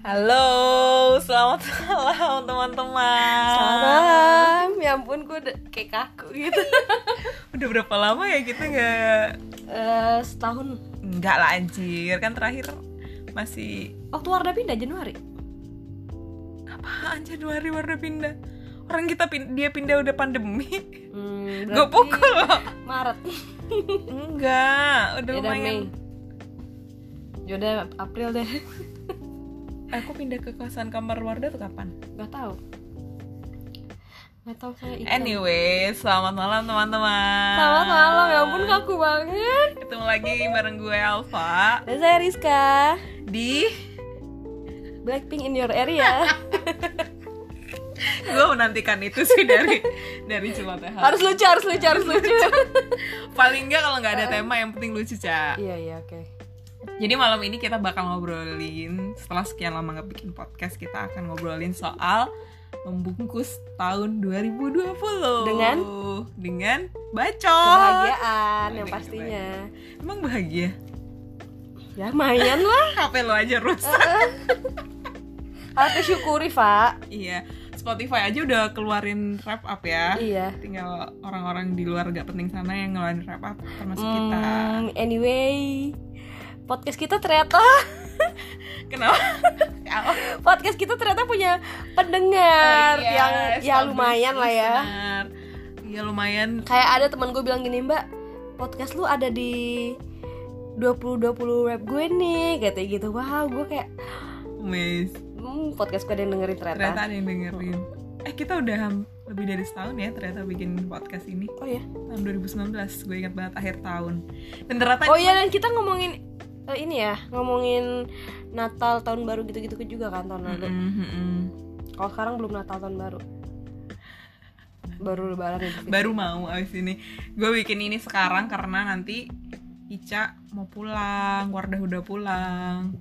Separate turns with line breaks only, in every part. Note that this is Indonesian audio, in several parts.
Halo, selamat malam teman-teman.
Selamat malam. Ya ampun, gue udah kayak kaku gitu.
Udah berapa lama ya kita nggak
Eh, setahun.
nggak lah anjir kan terakhir masih
Waktu Wardah pindah Januari.
apa anjir dua hari baru pindah. Orang kita pin- dia pindah udah pandemi.
Hmm,
Gue
berarti
pukul loh.
Maret.
Enggak, udah
Yaudah Mei.
lumayan.
Yaudah April deh.
Aku pindah ke kosan kamar Wardah tuh kapan?
Gak tahu. Gak tahu saya itu.
Anyway, selamat malam teman-teman.
iya. Selamat malam. Ya ampun, kaku banget.
Ketemu lagi bareng gue Alfa
Dan saya Rizka.
di
Blackpink in your area.
gue menantikan itu sih dari dari ya. celotehan.
harus lucu, harus lucu, harus lucu.
paling nggak kalau nggak ada tema yang penting lucu cak
iya, iya, oke.
jadi malam ini kita bakal ngobrolin setelah sekian lama nggak bikin podcast kita akan ngobrolin soal membungkus tahun 2020
Dengan?
dengan
Oh.
bacot
Kebahagiaan yang
Dengan
pastinya.
emang bahagia
Ya, lumayan lah.
HP lo aja rusak
Harus disyukuri, Pak.
iya Spotify aja udah keluarin wrap up ya
Iya.
tinggal orang-orang di luar gak penting sana yang ngeluarin wrap up termasuk kita
Hmm, anyway, podcast kita ternyata
kenapa Ya
podcast kita ternyata punya
Oh,
pendengar
iya,
yang ya
established
lumayan lah ya.
listener. Iya lumayan
Kayak ada teman gue bilang gini, "Mbak, podcast lu ada di 2020 rap gue nih." Kayak gitu. Wow, gue kayak
Mes,
hmm, podcast gue ada yang dengerin ternyata.
ternyata ada yang dengerin. Eh kita udah ham- lebih dari setahun ya ternyata bikin podcast ini
Oh ya.
tahun 2019 gue ingat banget akhir tahun dan ternyata
Oh iya, dan kita ngomongin eh, ini ya, ngomongin Natal tahun baru gitu-gitu juga kan tahun lalu.
Mm, mm, mm.
Kalau sekarang belum Natal tahun baru. Baru lebaran ya.
baru mau abis ini gue bikin ini sekarang karena nanti Ica mau pulang Wardah udah pulang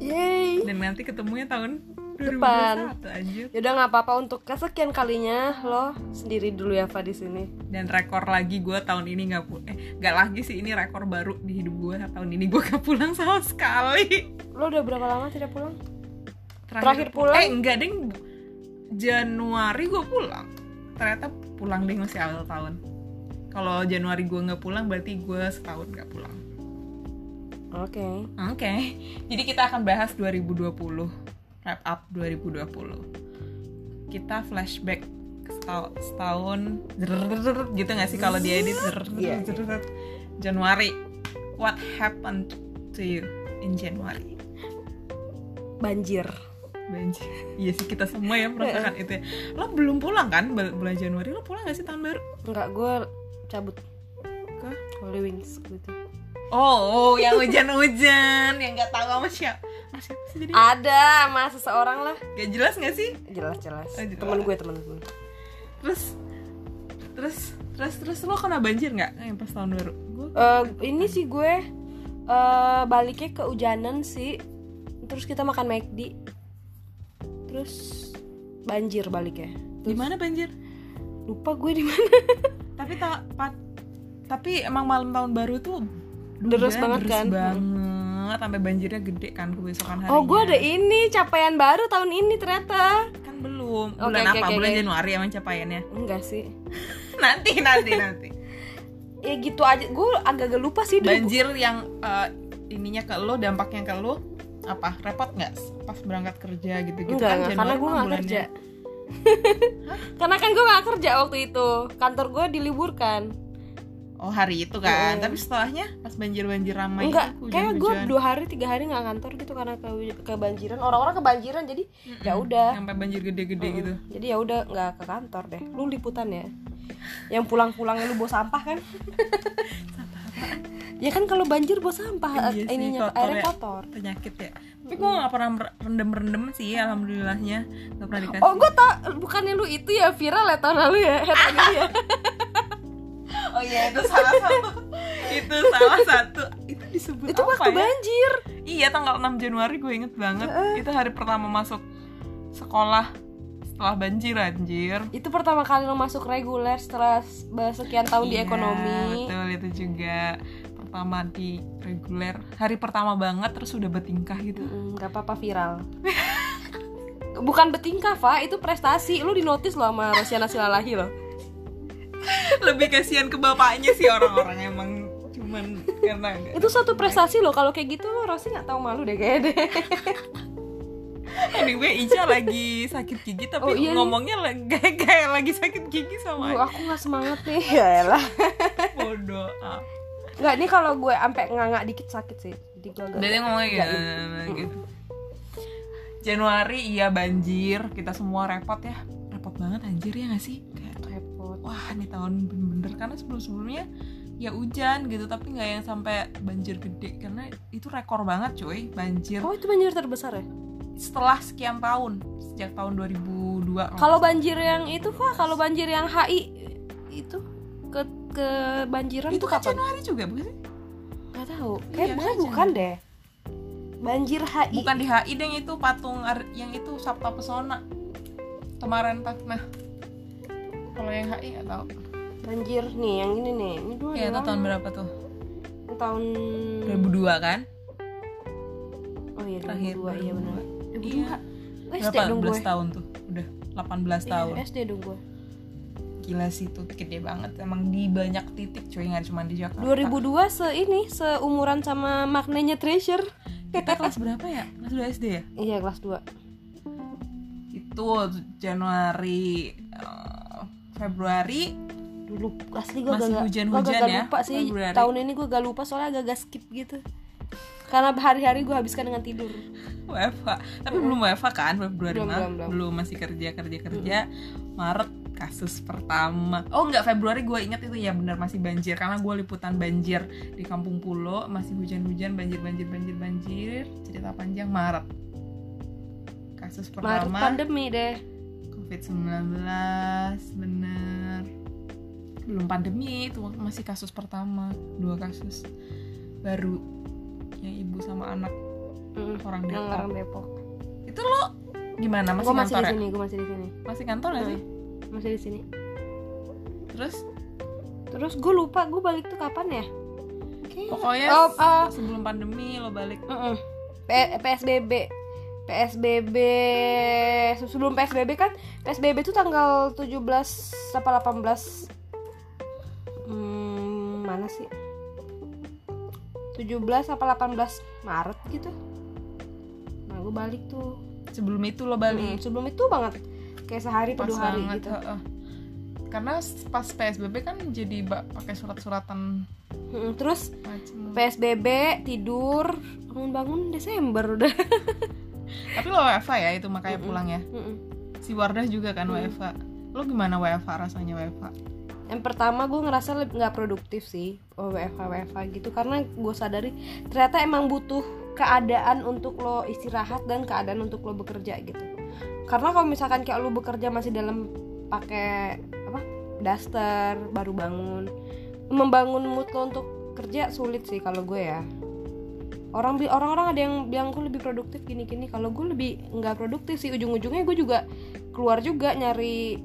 Yeay.
dan nanti ketemunya tahun 2021
Depan.
anjir
Yaudah nggak apa-apa untuk kesekian kalinya lo sendiri dulu ya Fa di sini.
dan rekor lagi gue tahun ini nggak pu eh nggak lagi sih ini rekor baru di hidup gue tahun ini gue gak pulang sama sekali
Lo udah berapa lama tidak pulang? Terakhir pulang?
eh enggak deng Januari gue pulang ternyata pulang deh masih awal tahun kalau Januari gue nggak pulang berarti gue setahun nggak pulang
Oke.
oke jadi kita akan bahas 2020 wrap up 2020 kita flashback setahun, setahun zrrrrrr, gitu nggak sih kalau dia edit zrrrrrr,
Iya.
zrrrrrr. Januari what happened to you in January
Banjir.
Banjir. Iya sih kita semua ya merasakan itu. Ya. Lo belum pulang kan bul- bulan Januari? Lo pulang gak sih tahun baru?
Enggak gue cabut
Ke?
Holy Wings gitu.
Oh, oh, yang hujan-hujan, yang nggak tahu sama siapa. Sama siapa sih jadi?
Ada sama seseorang lah.
Gak jelas gak sih?
Jelas jelas.
Oh, jelas.
Temen gue temen gue.
Terus, terus, terus, terus lo kena banjir nggak yang pas tahun baru? Gue
Eh, ini sih gue eh baliknya ke hujanan sih. Terus kita makan McD. Terus banjir baliknya.
di mana banjir?
Lupa gue di mana.
Tapi tak, pa- tapi emang malam tahun baru tuh
Deres
hujan,
banget
deres
kan?
banget sampai banjirnya gede kan kebesokan hari.
Oh, gue ada ini capaian baru tahun ini ternyata.
kan belum
Oke,
bulan
oke,
apa?
oke,
bulan
oke.
Januari emang capaiannya.
Enggak sih.
nanti nanti nanti.
ya gitu aja gue agak-agak lupa sih dulu
banjir yang eh, ininya ke lo dampaknya ke lo apa repot nggak pas berangkat kerja gitu gitu
enggak,
kan
enggak
Januari
karena gue
mah
gak
bulannya-
kerja karena kan gue gak kerja waktu itu kantor gue diliburkan
oh hari itu kan
Mm.
tapi setelahnya pas banjir banjir ramai gitu,
enggak
itu,
kayak gue
hujan-hujan.
dua hari tiga hari nggak kantor gitu karena ke- kebanjiran orang-orang kebanjiran jadi
Mm-mm.
ya udah
sampai banjir gede-gede gitu
jadi ya udah nggak ke kantor deh lu liputan ya yang pulang-pulangnya lu bawa sampah kan ya kan kalau banjir bawa sampah eh,
Iya sih,
ininya
kotor
airnya
ya.
kotor
penyakit ya tapi gue nggak pernah mer- rendem-rendem sih alhamdulillahnya nggak pernah dikasih
oh gue tau bukannya lu itu ya viral ya tahun lalu ya Tahun ini ya
oh iya itu salah satu itu salah satu itu disebut
itu
apa
waktu
ya?
banjir
Iya tanggal 6 Januari gue inget banget Itu hari pertama masuk sekolah setelah banjir anjir
itu pertama kali lo masuk reguler setelah sekian tahun di
Iya,
ekonomi
Betul itu juga pertama di reguler hari pertama banget terus udah bertingkah gitu
Mm, Gak apa-apa viral Bukan betingkah, Fa, itu prestasi Lu dinotis loh sama Rosiana Silalahi loh
lebih kasihan ke bapaknya sih orang-orang emang cuman karena nggak-
Itu suatu prestasi loh, kalau kayak gitu lo Rosi gak tahu malu deh kayaknya deh
anyway Ica lagi sakit gigi tapi
Oh, iya nih.
ngomongnya lagi kayak lagi sakit gigi sama
Duh,
aja.
aku gak semangat nih Ya elah
bodoh ah.
Nggak, ini kalau gue ampe nganga dikit sakit sih Jadi gue agak-
Berarti ngomongnya gitu,
jaim.
gitu. Januari iya banjir, kita semua repot ya. Repot banget anjir ya gak sih? Kayak
Repot
wah ini tahun bener-bener karena sebelum-sebelumnya ya hujan gitu tapi nggak yang sampai banjir gede karena itu rekor banget cuy banjir
Oh itu banjir terbesar ya?
setelah sekian tahun sejak tahun 2002
Kalau banjir yang itu, Fa, kalau banjir yang HI Itu ke kebanjiran
itu
itu
kan
kapan?
Januari juga bukan sih?
Gak tahu.
Iya,
Kayak Eh, bukan,
kayaknya.
bukan deh. Banjir HI.
bukan di HI deh yang itu patung ar- yang itu Sabta Pesona kemarin tak nah kalau yang HI nggak tahu
Banjir nih, yang ini nih. Ini dua
ya itu
doang.
tahun berapa tuh
Ini tahun
2002 kan
Oh iya,
terakhir
2002. Iya benar. 2002.
iya
SD
berapa
dong gue.
12 tahun tuh udah 18 tahun
Iya, SD dong gue.
gila sih itu gede banget emang di banyak titik cuy nggak cuma di Jakarta
2002 se ini seumuran sama maknanya Treasure.
kita kelas berapa ya kelas 2 SD ya
Iya, kelas 2.
itu Januari eh, Februari
Dulu asli gue
Masih
gak,
hujan-hujan
gak
ya,
lupa sih
Februari.
tahun ini gue gak lupa soalnya agak-agak skip gitu karena hari-hari gue habiskan dengan tidur
WFH tapi belum WFH kan Februari
Belum,
mah
belum, belum.
masih kerja kerja kerja Maret kasus pertama oh enggak Februari gue ingat itu ya benar masih banjir karena gue liputan banjir di Kampung Pulo masih hujan-hujan banjir banjir banjir banjir cerita panjang Maret kasus
Maret
pertama
pandemi deh
COVID-19 bener belum pandemi itu masih kasus pertama dua kasus baru yang ibu sama anak
Mm,
orang
yang
Depok
orang Depok
itu lo gimana masih
gue masih
kantor
di
ya?
sini Hmm. gue masih di sini
masih kantor nggak sih
masih di sini
terus
Terus gue lupa gue balik tuh kapan ya?
pokoknya
Oh, oh.
sebelum pandemi lo balik
Mm-mm. P- PSBB. PSBB sebelum PSBB kan PSBB tuh tanggal 17 apa 18 hmm, mana sih? 17 apa 18 Maret gitu. Nah, gue balik tuh.
sebelum itu lo
Mm,
balik
sebelum itu banget. Kayak sehari
pas
atau dua hari
banget
gitu.
heeh. karena pas psbb kan jadi ba- pakai surat-suratan
Mm, terus
macem
PSBB tidur bangun-bangun Desember udah.
tapi lo wfa ya itu makanya
Mm-mm.
pulang ya
Mm-mm.
si Wardah juga kan
Mm.
wfa lo gimana wfa rasanya wfa
yang pertama gue ngerasa leb- nggak produktif sih oh, WFH WFH gitu karena gue sadari ternyata emang butuh keadaan untuk lo istirahat dan keadaan untuk lo bekerja gitu karena kalau misalkan kayak lo bekerja masih dalam pakai apa daster baru bangun membangun mood lo untuk kerja sulit sih kalau gue ya orang bi- orang-orang ada yang bilang gue lebih produktif gini-gini kalau gue lebih nggak produktif sih ujung-ujungnya gue juga keluar juga nyari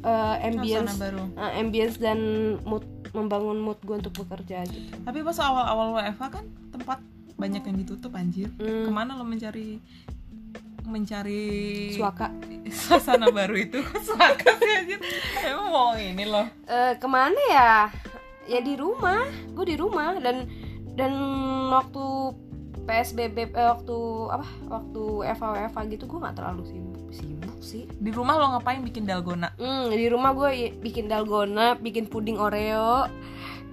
eh,
suasana
ambience
baru
uh, ambience dan mood membangun mood gue untuk bekerja gitu.
tapi pas awal-awal wfa kan tempat banyak yang ditutup anjir
Hmm,
kemana lo mencari mencari
suaka.
suasana baru itu suaka sih anjir emang mau ini loh
Eh, kemana ya? Ya di rumah. Gue di rumah dan dan waktu PSBB eh, waktu apa? Waktu FWF gitu gue nggak terlalu sibuk sibuk sih.
di rumah lo ngapain bikin dalgona
Hmm, di rumah gue i- bikin dalgona, bikin puding oreo,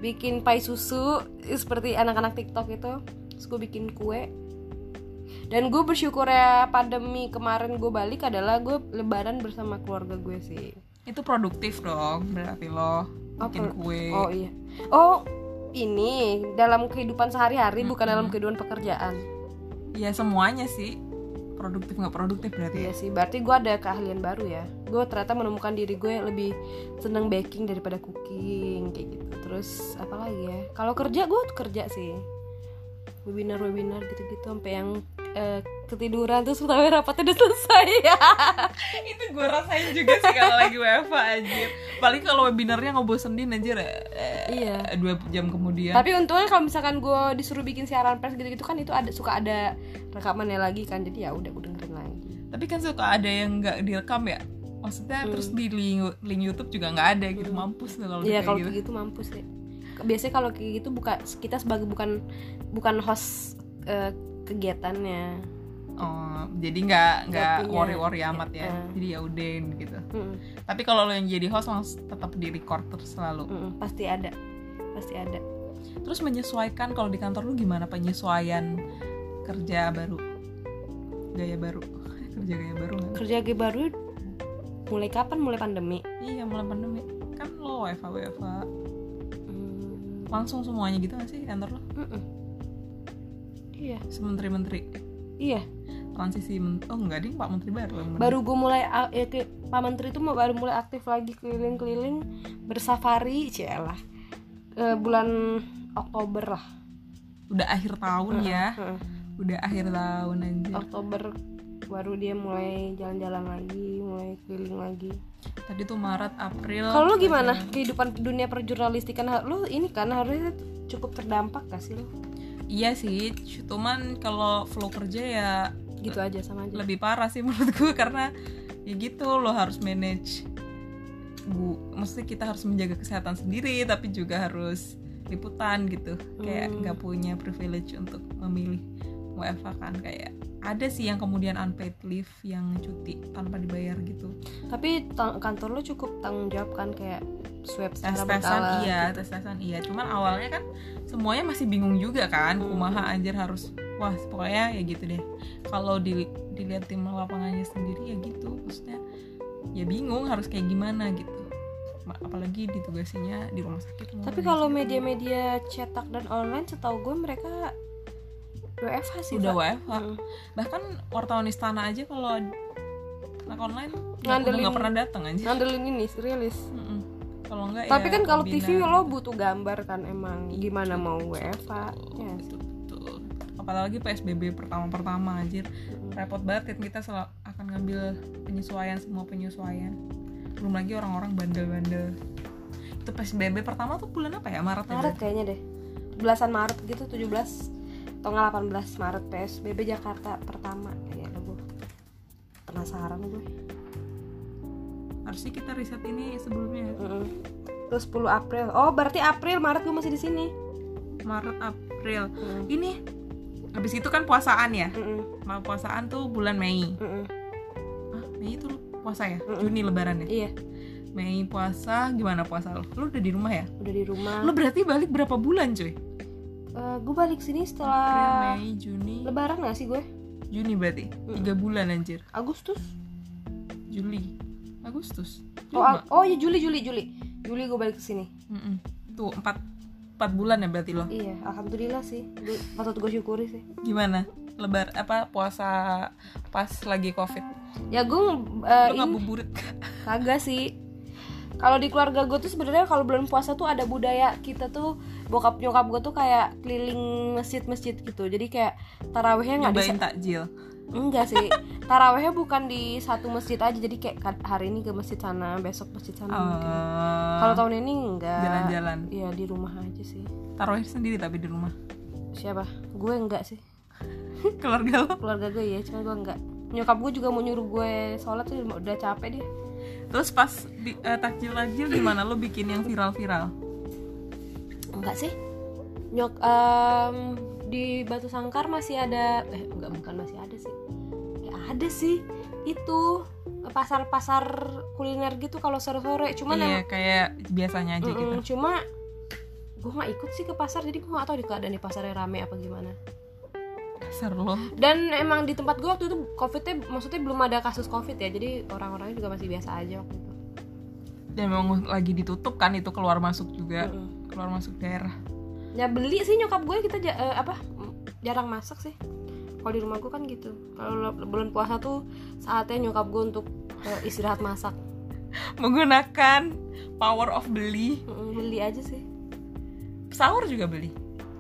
bikin pai susu eh, seperti anak-anak TikTok itu. Terus gue bikin kue. Dan gue bersyukur ya pandemi kemarin gue balik adalah gue lebaran bersama keluarga gue sih.
itu produktif dong berarti lo bikin
pro-
kue
Oh iya. Oh, ini dalam kehidupan sehari-hari bukan
Mm-mm.
dalam kehidupan pekerjaan.
ya semuanya sih produktif nggak produktif berarti ya
Iya sih, berarti gue ada keahlian baru ya. Gue ternyata menemukan diri gue lebih seneng baking daripada cooking kayak gitu. Terus apa lagi ya? Kalau kerja gue kerja sih. Webinar webinar gitu-gitu sampai yang eh, ketiduran terus tahu rapatnya udah selesai ya
itu gue rasain juga sih kalau lagi WFA anjir paling kalau webinarnya ngebosenin anjir eh,
iya
eh, dua jam kemudian
tapi untungnya kalau misalkan gue disuruh bikin siaran pers gitu-gitu kan itu ada suka ada rekamannya lagi kan jadi ya udah gue dengerin lagi
tapi kan suka ada yang nggak direkam ya maksudnya
Hmm.
terus di link, link YouTube juga nggak ada gitu
Hmm.
mampus nih kalau udah
Iya
kayak
kalau
gitu
kayak gitu mampus ya. Biasanya kalau kayak gitu buka kita sebagai bukan bukan host eh, kegiatannya.
oh jadi nggak nggak
punya.
worry worry amat ya
Iya.
jadi ya udahin gitu
Mm-mm,
tapi kalau lo yang jadi host langsung tetap di record terus selalu
mm-mm, pasti ada. Pasti ada.
terus menyesuaikan kalau di kantor lu gimana penyesuaian kerja baru gaya baru kerja gaya baru nggak
Kerja kayak baru mulai kapan? Mulai pandemi.
Iya mulai pandemi kan lo WFA WFA
Mm,
langsung semuanya gitu gak sih di kantor lo
mm-mm. Iya,
sementeri-menteri
iya.
transisi men- oh enggak ding pak menteri baru yang bener.
Baru gue mulai a- ya ke Pak Menteri tuh mau baru mulai aktif lagi keliling-keliling bersafari, cialah. Eh, bulan Oktober lah.
udah akhir tahun ya
Heeh. Oh.
udah akhir tahun anjir
Oktober baru dia mulai jalan-jalan lagi, mulai keliling lagi.
tadi tuh Maret April
Kalau lu gimana kehidupan dunia perjurnalistikan? Ha- Lu ini kan harusnya cukup terdampak gak sih lu?
iya sih cuman kalau flow kerja ya
Gitu aja sama aja.
lebih parah sih menurut gue karena ya gitu lo harus manage bu mesti kita harus menjaga kesehatan sendiri tapi juga harus liputan gitu kayak
Hmm.
nggak punya privilege untuk memilih WFH kan kayak ada sih yang kemudian unpaid leave yang cuti tanpa dibayar gitu
Tapi ta- kantor lu cukup tanggung jawab kan kayak swab
tes
secara berkala.
tesan iya tes tesan iya cuman awalnya kan semuanya masih bingung juga kan
Hmm.
kumaha anjir harus wah pokoknya ya gitu deh kalau dili- dilihat tim lapangannya sendiri ya gitu maksudnya ya bingung harus kayak gimana gitu Ma- apalagi ditugasinya di rumah sakit mau
Tapi
ngajar.
kalau media-media cetak dan online setahu gue mereka WFH sih.
udah
Pak.
WFH
Mm.
bahkan wartawan istana aja kalau anak online nggak-
Ngandelin-
udah nggak pernah datang aja
Ngandelin ini rilis.
Mm-mm. kalau nggak
Tapi
ya
kan kalau
webinar.
TV lo butuh gambar kan emang gimana
Betul,
mau
betul,
WFH?
betul,
Ya.
betul, betul. Iya apalagi PSBB pertama-pertama anjir
Mm.
repot banget kan kita selalu akan ngambil penyesuaian semua penyesuaian belum lagi orang-orang bandel-bandel itu PSBB pertama tuh bulan apa ya Maret ya,
Maret
berarti?
kayaknya deh belasan Maret gitu 17 atau nggak 18 Maret PSBB Jakarta pertama ya gue penasaran gue
harusnya kita riset ini sebelumnya ya.
Mm-mm. terus 10 April oh berarti April Maret gue masih di sini
Maret April
Mm.
ini habis itu kan puasaan ya
Mm-mm.
Ma puasaan tuh bulan Mei
Mm-mm.
ah Mei itu lu puasa ya
Mm-mm.
Juni Lebaran ya
iya
Mei puasa gimana puasa lu lu udah di rumah ya
udah di rumah
lu berarti balik berapa bulan cuy
gue balik
April
sini setelah
Mei Juni
Lebaran gak sih gue
Juni berarti tiga bulan anjir
Agustus
Juli Agustus
oh
Lima.
Ag- oh ya Juli Juli Juli Juli gue balik ke sini
Mm-mm. Tuh empat empat bulan ya berarti lo.
iya alhamdulillah sih Gua- patut gue syukuri sih
Gimana? Lebar apa puasa pas lagi covid?
ya gue
Lo ngabuburit?
Kagak sih. Kalau di keluarga gue tuh sebenarnya kalau bulan puasa tuh ada budaya kita tuh bokap nyokap gue tuh kayak keliling masjid-masjid gitu. Jadi kayak tarawehnya nggak di
Nyobain takjil.
enggak sih. Tarawehnya bukan di satu masjid aja. Jadi kayak kad- hari ini ke masjid sana, besok masjid sana. mungkin.
Eh,
Ah, Kalau tahun ini enggak.
Jalan-jalan.
Iya di rumah aja sih.
Taruh sendiri tapi di rumah.
Siapa? Gue enggak sih.
Keluarga lo.
Keluarga gue ya, cuma gue enggak. Nyokap gue juga mau nyuruh gue sholat tuh udah capek dia.
Terus pas di, eh, takjil takjil gimana lo bikin yang viral-viral?
enggak sih nyok em, di Batu Sangkar masih ada eh enggak bukan masih ada sih ya ada sih itu eh, pasar-pasar kuliner gitu kalau sore-sore cuman
iya
emang-
kayak biasanya aja gitu.
Mm-mm, cuma gue nggak ikut sih ke pasar jadi gue nggak tahu di keadaan di pasarnya rame apa gimana
Dasar lo.
dan emang di tempat gue waktu itu covidnya maksudnya belum ada kasus covid ya jadi orang-orangnya juga masih biasa aja waktu itu
Dan memang lagi ditutup kan itu keluar masuk juga
Mm-mm.
keluar masuk daerah.
ya beli sih nyokap gue kita ja- eh, apa mm, jarang masak sih kalau di rumah gue kan gitu kalau lo- bulan puasa tuh saatnya nyokap gue untuk eh, istirahat masak
Menggunakan power of beli.
Mm, beli aja sih Hmm.
Sahur juga beli.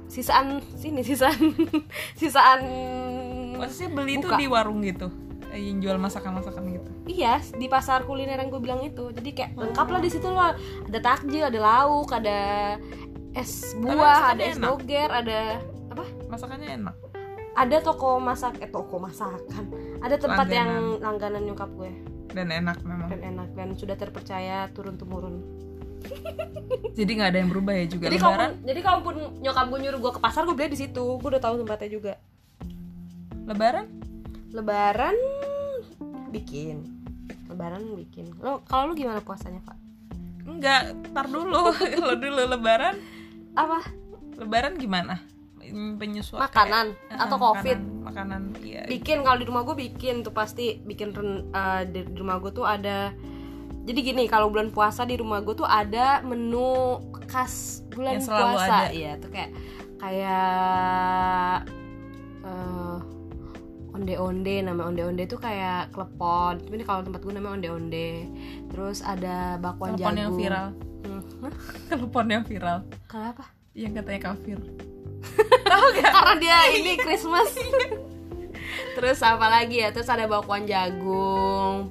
sisaan sini sisaan sisaan
maksudnya beli tuh
buka.
di warung gitu eh, yang jual masakan-masakan gitu
Iya, di pasar kuliner yang gue bilang itu. Jadi kayak lengkap lah di situ loh. Ada takjil, ada lauk, ada es buah, ada
masakannya
es
enak.
doger, ada apa?
masakannya enak
Ada toko masak, eh toko masakan. Ada tempat yang langganan nyokap gue
dan enak memang
dan enak dan sudah terpercaya turun temurun.
jadi nggak ada yang berubah ya juga
Jadi
lebaran
kalaupun jadi kalaupun nyokap gue nyuruh gue ke pasar, gue beli di situ. Gue udah tahu tempatnya juga.
lebaran
Lebaran bikin. Lebaran bikin. Lo kalau lu gimana puasanya, Pak?
enggak tar dulu lo dulu lebaran
Apa?
lebaran gimana penyesuaian
Makanan atau Covid?
makanan, makanan iya
bikin kalau di rumah gue bikin tuh pasti bikin ren- eh, di di rumah gue tuh ada jadi gini kalau bulan puasa di rumah gue tuh ada menu khas bulan
Yang selalu
puasa
ada.
iya tuh kayak kayak eh, onde-onde nama onde-onde tuh kayak klepon tapi ini kalau tempat gue namanya onde-onde terus ada bakwan
telepon yang
jagung
viral
Hmm, hah?
telepon yang viral
kenapa
yang katanya kafir
Hmm. karena dia ini Christmas terus apa lagi ya terus ada bakwan jagung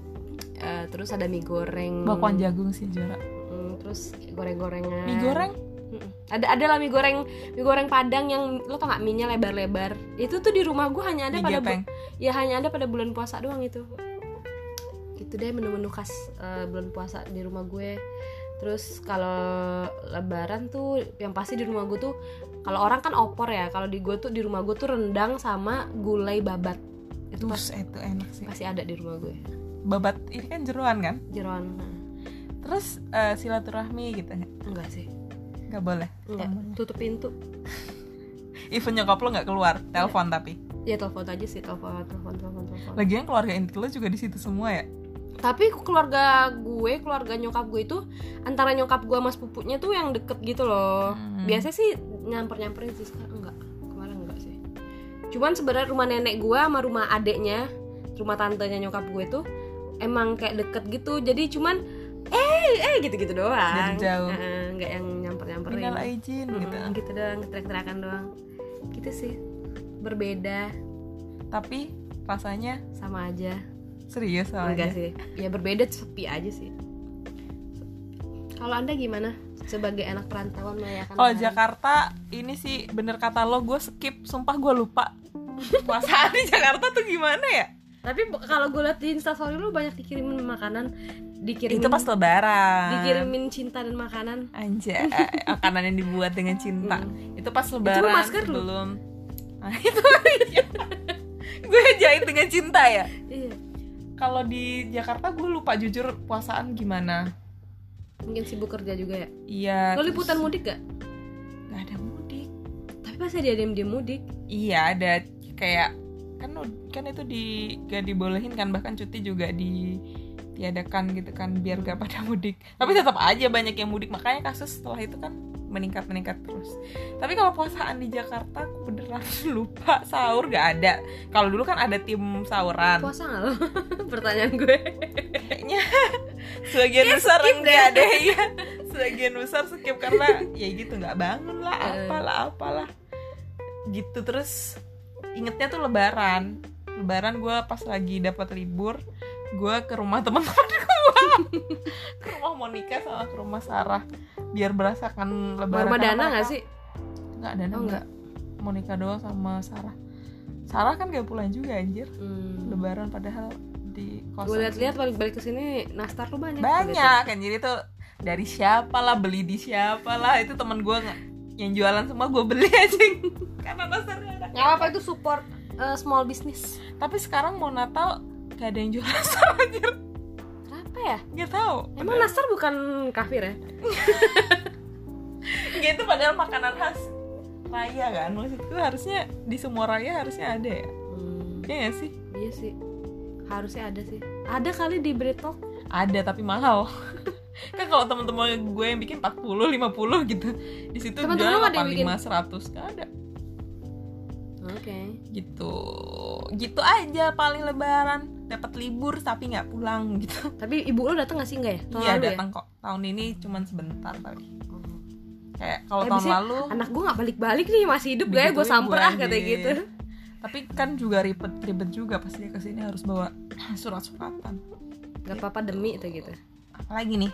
eh, terus ada mie goreng
bakwan jagung sih Jora
Mm, terus goreng-gorengan
mie goreng
Mm-mm. ada ada lah mie goreng mie goreng padang yang lo tau gak mie nya lebar-lebar itu tuh di rumah gue hanya ada
mie
pada bu-
gepeng
ya hanya ada pada bulan puasa doang itu itu deh menu-menu khas eh, bulan puasa di rumah gue terus kalau lebaran tuh yang pasti di rumah gue tuh kalau orang kan opor ya kalau di gue tuh di rumah gue tuh rendang sama gulai babat itu pas-
dus itu enak sih
pasti ada di rumah gue
babat ini kan jeruan kan
jeroan nah,
terus eh, silaturahmi gitu
enggak sih
nggak boleh
enggak tutup pintu
even nyokap lo nggak keluar telepon tapi
ya telepon aja sih telepon telepon telepon telepon
lagian keluarga inti lo juga di situ semua ya
tapi keluarga gue keluarga nyokap gue itu antara nyokap gue sama sepupunya tuh yang deket gitu loh
Hmm.
biasanya sih nyamper nyamperin sih sekarang enggak kemarin enggak sih cuman sebenarnya rumah nenek gue sama rumah adeknya rumah tantenya nyokap gue tuh emang kayak deket gitu jadi cuman eh eh gitu gitu doang
Dari jauh.
Heeh, nggak yang nyamper nyamperin
minal aijin gitu
gitu doang teriak-teriakan doang gitu sih berbeda
tapi rasanya
sama aja
serius soalnya
enggak sih ya berbeda sepi aja sih kalau anda gimana sebagai anak perantauan merayakan
kalau Oh,
lebaran?
Jakarta ini sih bener kata lo gue skip sumpah gue lupa puasaan di Jakarta tuh gimana ya
tapi bu- kalau gue liat di instastory lu banyak dikirimin makanan dikirimin
itu pas lebaran
dikirimin cinta dan makanan Hmm.
Anjay, makanan yang dibuat dengan cinta. Itu pas lebaran.
Mm. Itu lu masker lu?
belum. Ah, itu gue jahit dengan cinta ya.
iya
Kalau di Jakarta gue lupa jujur puasaan gimana.
mungkin sibuk kerja juga ya
Iya.
lo liputan
terus-
mudik gak
Nggak ada mudik.
tapi pasti dia diem diem mudik
Iya, ada kayak kan ud- kan itu di gak dibolehin kan bahkan cuti juga di diadakan gitu kan biar gak pada mudik tapi
Iya.
tetap aja banyak yang mudik makanya kasus setelah itu kan meningkat meningkat terus tapi kalau puasaan di Jakarta aku beneran lupa sahur gak ada kalau dulu kan ada tim sauran
puasa nggak lo pertanyaan gue
kayaknya sebagian besar
skip
enggak
deh.
ada ya sebagian besar skip karena ya gitu nggak bangun lah
Eh.
apalah apalah gitu terus ingetnya tuh lebaran lebaran gue pas lagi dapat libur gue ke rumah teman-teman gue ke rumah Monica sama ke rumah Sarah biar berasakan lebaran
rumah
Karena
dana nggak
mereka-
sih
nggak dana
Oh,
nggak Monica doang sama Sarah Sarah kan gak pulang juga anjir
hmm.
lebaran padahal di kosan
gue liat-liat balik balik kesini nastar lu banyak
banyak kan jadi tuh dari siapa lah beli di siapa lah itu teman gue nggak yang jualan semua gue beli aja karena dasarnya ada
nggak apa itu support eh, small business
tapi sekarang mau Natal gak ada yang jualan sama anjir
kenapa ya
nggak tahu
Emang nastar bukan kafir ya?
Nggak, Ya, itu padahal makanan khas raya kan maksudku harusnya di semua raya harusnya ada ya
Hmm,
ya nggak sih
iya sih. Harusnya ada sih. Ada kali di Bretok.
ada tapi mahal kan kalau teman-teman gue yang bikin 40 50 gitu di situ
Teman-teman
jualan
ada yang
85 100 nggak ada
Oke.
gitu gitu aja paling lebaran dapat libur tapi nggak pulang gitu
Tapi ibu lo datang gak sih enggak ya? Tahun
iya
lalu ya?
datang kok tahun ini cuman sebentar tapi
Oh.
kayak kalau
Eh,
tahun
biasanya
lalu
Anak gue gak balik-balik nih masih hidup gak ya? Gue
digituin
samper
gua
ah kata
anjir.
gitu.
tapi kan juga ribet-ribet juga pas dia kesini harus bawa surat-suratan
Gak apa-apa demi itu gitu
apalagi nih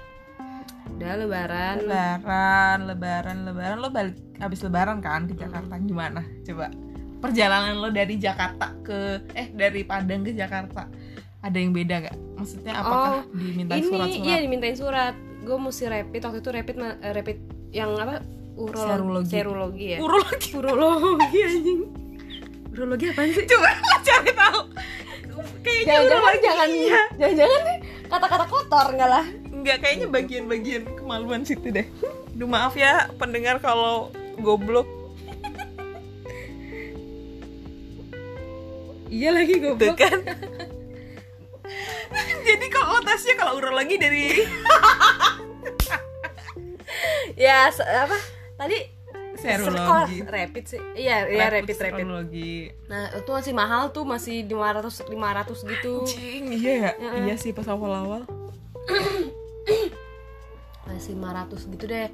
Udah lebaran
lebaran lebaran lebaran lo balik habis lebaran kan ke Jakarta gimana coba perjalanan lo dari Jakarta ke eh dari Padang ke Jakarta ada yang beda nggak maksudnya apakah diminta
Oh, Ini
surat-surat
iya dimintain surat Gue mesti rapid waktu itu rapid ma- eh, rapid yang apa urologi
Serologi.
serologi ya
Urut lagi
urologi anjing urologi apa sih
coba lo cari tahu kayaknya
jangan-jangan
urologi
jangan
iya.
jangan-jangan nih kata-kata kotor enggak lah
nggak kayaknya bagian-bagian kemaluan situ deh Duh maaf ya pendengar kalau goblok
iya lagi
tuh
goblok
kan jadi kalau lo tesnya kalau urologi dari
ya se- apa tadi
serologi
Oh, rapid sih iya
Nah,
iya rapid rapid
serologi
nah itu masih mahal tuh masih 500 500 gitu
Cing, iya ya? Iya sih pas awal-awal.
masih 500 gitu deh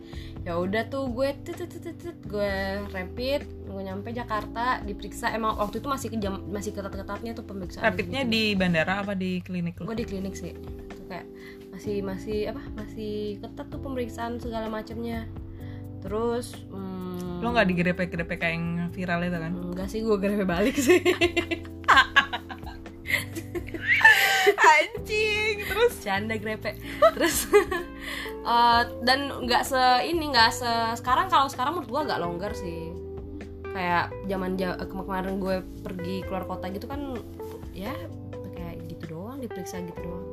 ya udah tuh gue tit, tit, tit, tit, gue rapid gue nyampe Jakarta diperiksa emang waktu itu masih kejam masih ketat-ketatnya tuh pemeriksaan
Rapidnya di bandara apa di klinik lo?
gue di klinik sih Itu kayak masih masih apa masih ketat tuh pemeriksaan segala macamnya terus hmm,
Lo nggak digerepek-gerepek kayak yang viral itu kan?
mm, enggak sih gue grepe balik sih
Anjing, terus
canda grepe terus eh, dan nggak se ini nggak se sekarang kalau sekarang menurut gue agak longgar sih kayak zaman ja- kema- kemarin gue pergi keluar kota gitu kan ya kayak gitu doang diperiksa gitu doang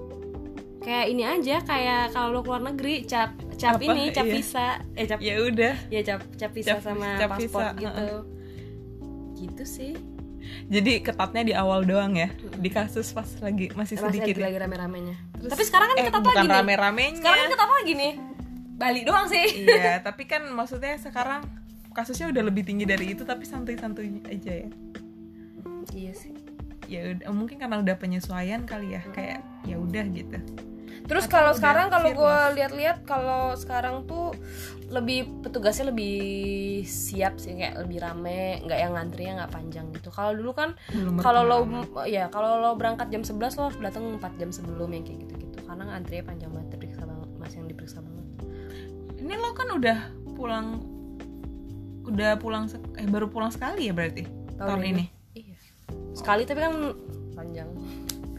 kayak ini aja kayak kalau lo keluar negeri cap cap
Apa?
ini cap
Iya.
visa eh cap
ya udah.
ya cap cap visa
Cap-
sama
cap
paspor
visa,
gitu gitu sih
Jadi ketatnya di awal doang ya. Di kasus pas lagi masih
masih
sedikit.
lagi,
ya?
lagi rame-ramenya tapi sekarang kan
eh,
ketat
bukan
lagi nih.
rame-ramenya.
sekarang kan ketat lagi nih Bali doang sih
iya, tapi kan maksudnya sekarang kasusnya udah lebih tinggi dari itu tapi santuy-santuy aja ya.
iya sih
Ya udah, mungkin karena udah penyesuaian kali ya, kayak ya udah gitu.
terus
Atau
kalau
udah
sekarang kalau gue
fearless.
lihat-lihat kalau sekarang tuh lebih petugasnya lebih siap sih kayak lebih rame nggak yang ngantrinya nggak panjang gitu kalau dulu kan
Belum
kalau lo
berpengalaman.
ya kalau lo berangkat jam 11 lo harus datang 4 jam sebelum yang kayak gitu-gitu karena ngantrinya panjang banget diperiksa banget masih yang diperiksa banget
ini lo kan udah pulang udah pulang sek- eh baru pulang sekali ya berarti tahun, ini.
iya sekali tapi kan panjang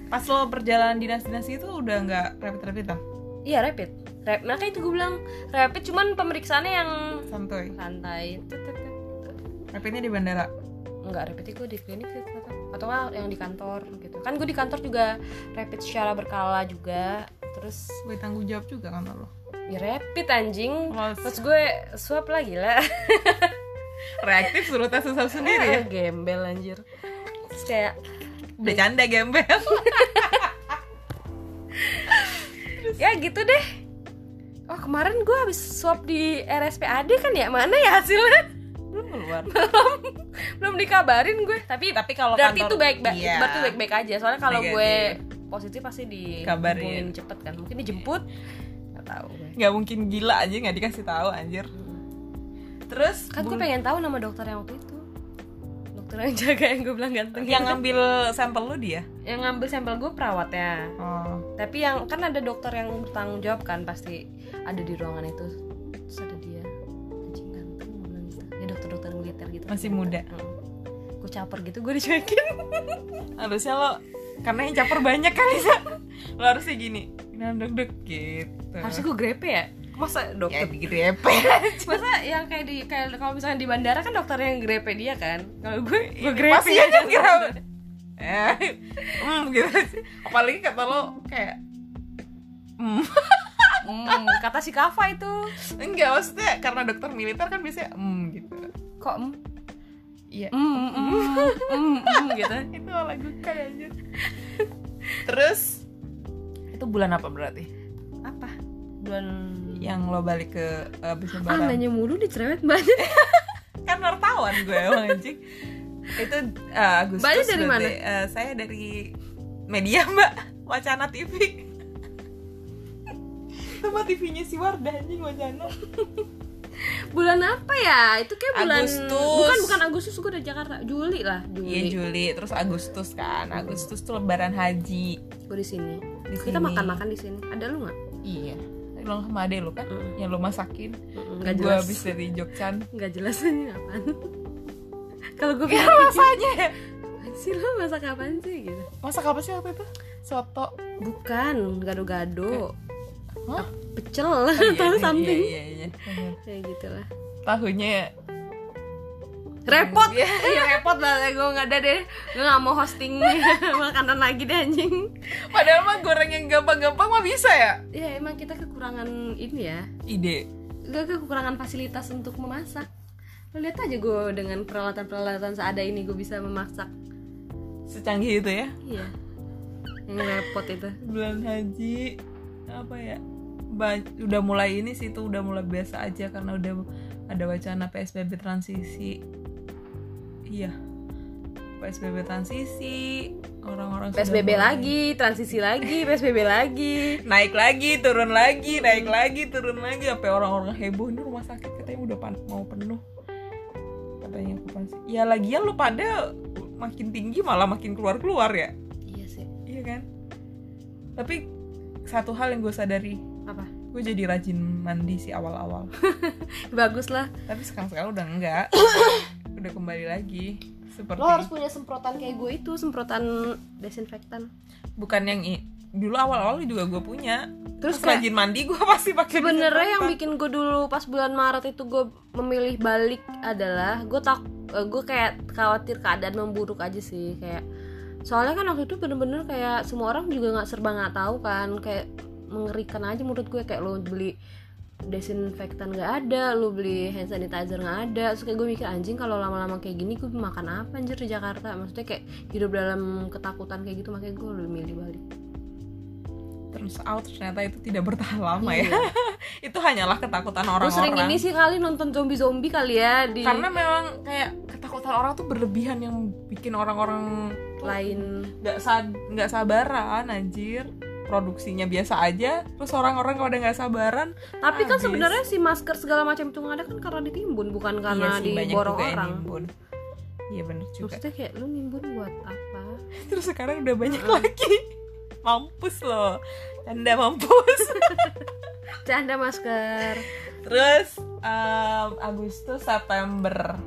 pas lo perjalanan dinas dinas itu udah nggak ah? rapid rapidan
iya rapid Rap, nah kayak itu gue bilang rapid cuman pemeriksaannya yang
santuy
santai Tut, tut, tut, tut.
rapidnya di bandara
nggak rapid gue di klinik sih ternyata. atau nggak yang di kantor gitu kan gue di kantor juga rapid secara berkala juga terus
gue tanggung jawab juga kan lo
ya rapid anjing
Mas.
terus gue swab lagi lah
reaktif suruh tes usap sendiri ya
gila gembel anjir terus kayak
bercanda gembel
ya gitu deh oh kemarin gue habis swab di RSPAD kan ya mana ya hasilnya
belum keluar
belum dikabarin gue tapi
tapi kalau
berarti
kantor-
itu baik baik
iya.
berarti baik baik aja soalnya kalau
Baik
gue positif pasti dikabarin
Kabarin. Iya.
cepet kan mungkin dijemput nggak tahu gue
nggak mungkin gila aja nggak dikasih tahu anjir terus
kan gue
bul-
pengen tahu nama dokter yang waktu itu dokter yang jaga yang gue bilang ganteng
yang ngambil sampel lo dia
yang ngambil sampel gue perawatnya
oh
tapi yang kan ada dokter yang bertanggung jawab kan pasti ada di ruangan itu terus ada dia anjing ganteng gue bilang gitu ya dokter dokter militer gitu
Masih muda.
Mm. gue caper gitu gue dicuekin
harusnya lo karena yang caper banyak kali Sa. lo harusnya gini nanduk deg gitu
harusnya gue grepe ya masa
ya
dokter
gitu ya
masa yang kayak di kayak kalau misalnya di bandara kan dokter yang grepe dia kan kalau gue gue grepe ya,
Pasiennya kan kira eh hmm gitu sih apalagi kata lo kayak hmm
Mm, kata si Kava itu
enggak maksudnya karena dokter militer kan biasanya hmm gitu
kok mm,
iya
mm, mm, mm, mm, mm, gitu
itu lagu kayak aja terus itu bulan apa berarti
apa bulan Iya,
yang lo balik ke abis
ah
lebaran
nanya mulu dicerewet banyak
kan wartawan gue emang anjing itu eh, Agustus
Mbaknya dari
berarti.
mana?
Eh, saya dari media mbak wacana TV tempat TV-nya si Wardah anjing wacana
bulan apa ya itu kayak bulan
Agustus.
bukan bukan Agustus gue dari Jakarta Juli lah
Iya
Juli
Juli, terus Agustus kan. Agustus tuh lebaran haji.
gue di sini
Di
kita
sini.
makan makan di sini ada lu nggak
Iya. Lo sama ade lo kan
Mm.
yang lo masakin.
Mm-mm, nggak
Gue
jelas
habis dari Jogjan.
nggak jelas ini apaan kalau gue
Iya
bilang
rasanya.
"Apaan sih lo masak apaan sih gitu
Masak apa sih waktu itu? Soto.
bukan gado-gado
Hah?
pecel
Iya,
atau
iya,
something
Iya, iya, iya.
kayak gitulah
Tahunya
repot
Iya.
iya repot banget gue nggak ada deh gue nggak mau hosting makanan lagi deh anjing
Padahal mah goreng yang gampang-gampang mah bisa ya.
ya emang kita kekurangan ini ya
Ide.
gue kekurangan fasilitas untuk memasak lo lihat aja gue dengan peralatan-peralatan seada ini gue bisa memasak
Secanggih itu ya.
iya yang repot itu
Bulan haji apa ya? Ba- udah mulai ini sih tuh udah mulai biasa aja karena udah ada wacana PSBB transisi. Iya. PSBB transisi, orang-orang sudah
PSBB
mulai-
lagi, transisi lagi, PSBB lagi.
naik lagi turun lagi naik lagi turun lagi sampai orang-orang heboh ini rumah sakit katanya udah pan- mau penuh katanya kapan sih ya lagian lu pada makin tinggi malah makin keluar keluar ya
Iya sih.
iya kan tapi satu hal yang gue sadari
Apa?
gue jadi rajin mandi sih awal-awal
Bagus lah.
tapi sekarang sekarang udah enggak udah kembali lagi seperti
Lo harus punya semprotan kayak gue itu, semprotan desinfektan.
bukan yang i- dulu awal-awal juga gue punya terus,
Terus kayak-
rajin mandi gue pasti pakai
Sebenarnya yang
disinfektan.
bikin gue dulu pas bulan Maret itu gue memilih balik adalah gue tak eh, gue kayak khawatir keadaan memburuk aja sih kayak soalnya kan waktu itu bener-bener kayak semua orang juga nggak serba nggak tahu kan kayak mengerikan aja menurut gue kayak lo beli desinfektan nggak ada, lo beli hand sanitizer nggak ada, terus kayak gue mikir anjing kalau lama-lama kayak gini gue makan apa anjir di Jakarta, maksudnya kayak hidup dalam ketakutan kayak gitu makanya gue lebih milih balik.
turns out ternyata itu tidak bertahan lama ya itu hanyalah ketakutan
Terus Iya. sering
orang-orang
ini sih kali nonton zombie-zombie kali ya di
karena memang kayak ketakutan orang tuh berlebihan yang bikin orang-orang tuh
lain
nggak sad nggak sabaran anjir produksinya biasa aja terus orang-orang kalau udah nggak sabaran
Tapi kan
Habis.
sebenarnya si masker segala macam itu nggak ada kan karena ditimbun bukan karena
iya sih, banyak
diborong
juga yang
orang.
nimbun. iya bener juga
Maksudnya kayak lu nimbun buat apa?
terus sekarang udah banyak lagi mampus loh canda mampus
Canda masker.
terus em, Agustus September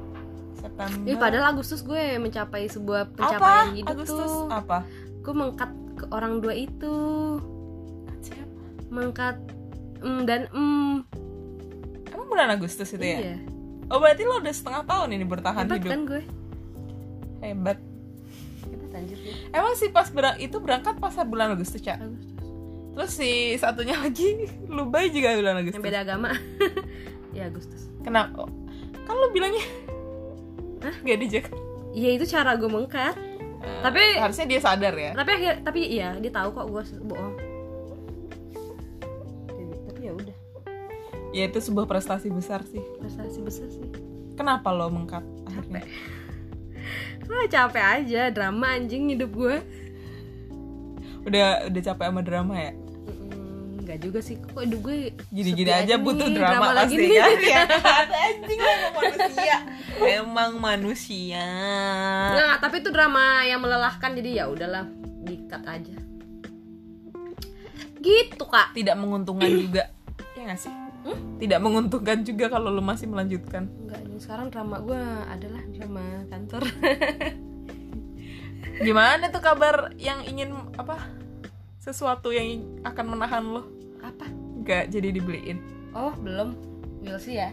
September
Ih padahal Agustus gue mencapai sebuah pencapaian
apa?
hidup
Agustus Ah.
tuh.
apa?
Gue mengkat ke orang dua itu, mengkat mm, dan mm,
Emang bulan Agustus itu ya?
iya.
Oh berarti lo udah setengah tahun ini bertahan
Hebat
hidup
kan gue?
Hebat
Hebat anjir gue.
Emang sih pas berang- itu berangkat pas bulan Agustus ya?
Agustus.
Terus si satunya lagi Lubai juga bulan Agustus
Yang beda agama. ya Agustus.
Kenapa? Kan lo bilangnya Gak di Jakarta
Iya itu cara gue mengkat.
Eh,
Tapi-
Harusnya dia sadar ya
tapi akhir tapi iya dia tahu kok gue bohong tapi ya udah
Ya itu sebuah prestasi besar sih
prestasi besar sih
Kenapa lo mengkat akhirnya?
ah capek aja drama anjing hidup gue
Udah, udah capek sama drama ya?
Mm, nggak juga sih kok hidup gue
Gini-gini
sepi
aja butuh
nih,
drama,
lagi
pasti
nih.
kan ya. Anjing emang manusia. Emang manusia.
nggak nggak, tapi itu drama yang melelahkan jadi ya udahlah dikat aja gitu kak
Tidak menguntungkan juga. Ya nggak sih?
Hmm?
Tidak menguntungkan juga kalau lu masih melanjutkan.
Enggak, sekarang drama gue adalah drama kantor
Gimana tuh kabar yang ingin apa? Sesuatu yang akan menahan lo
apa
nggak jadi dibeliin.
oh belum will see ya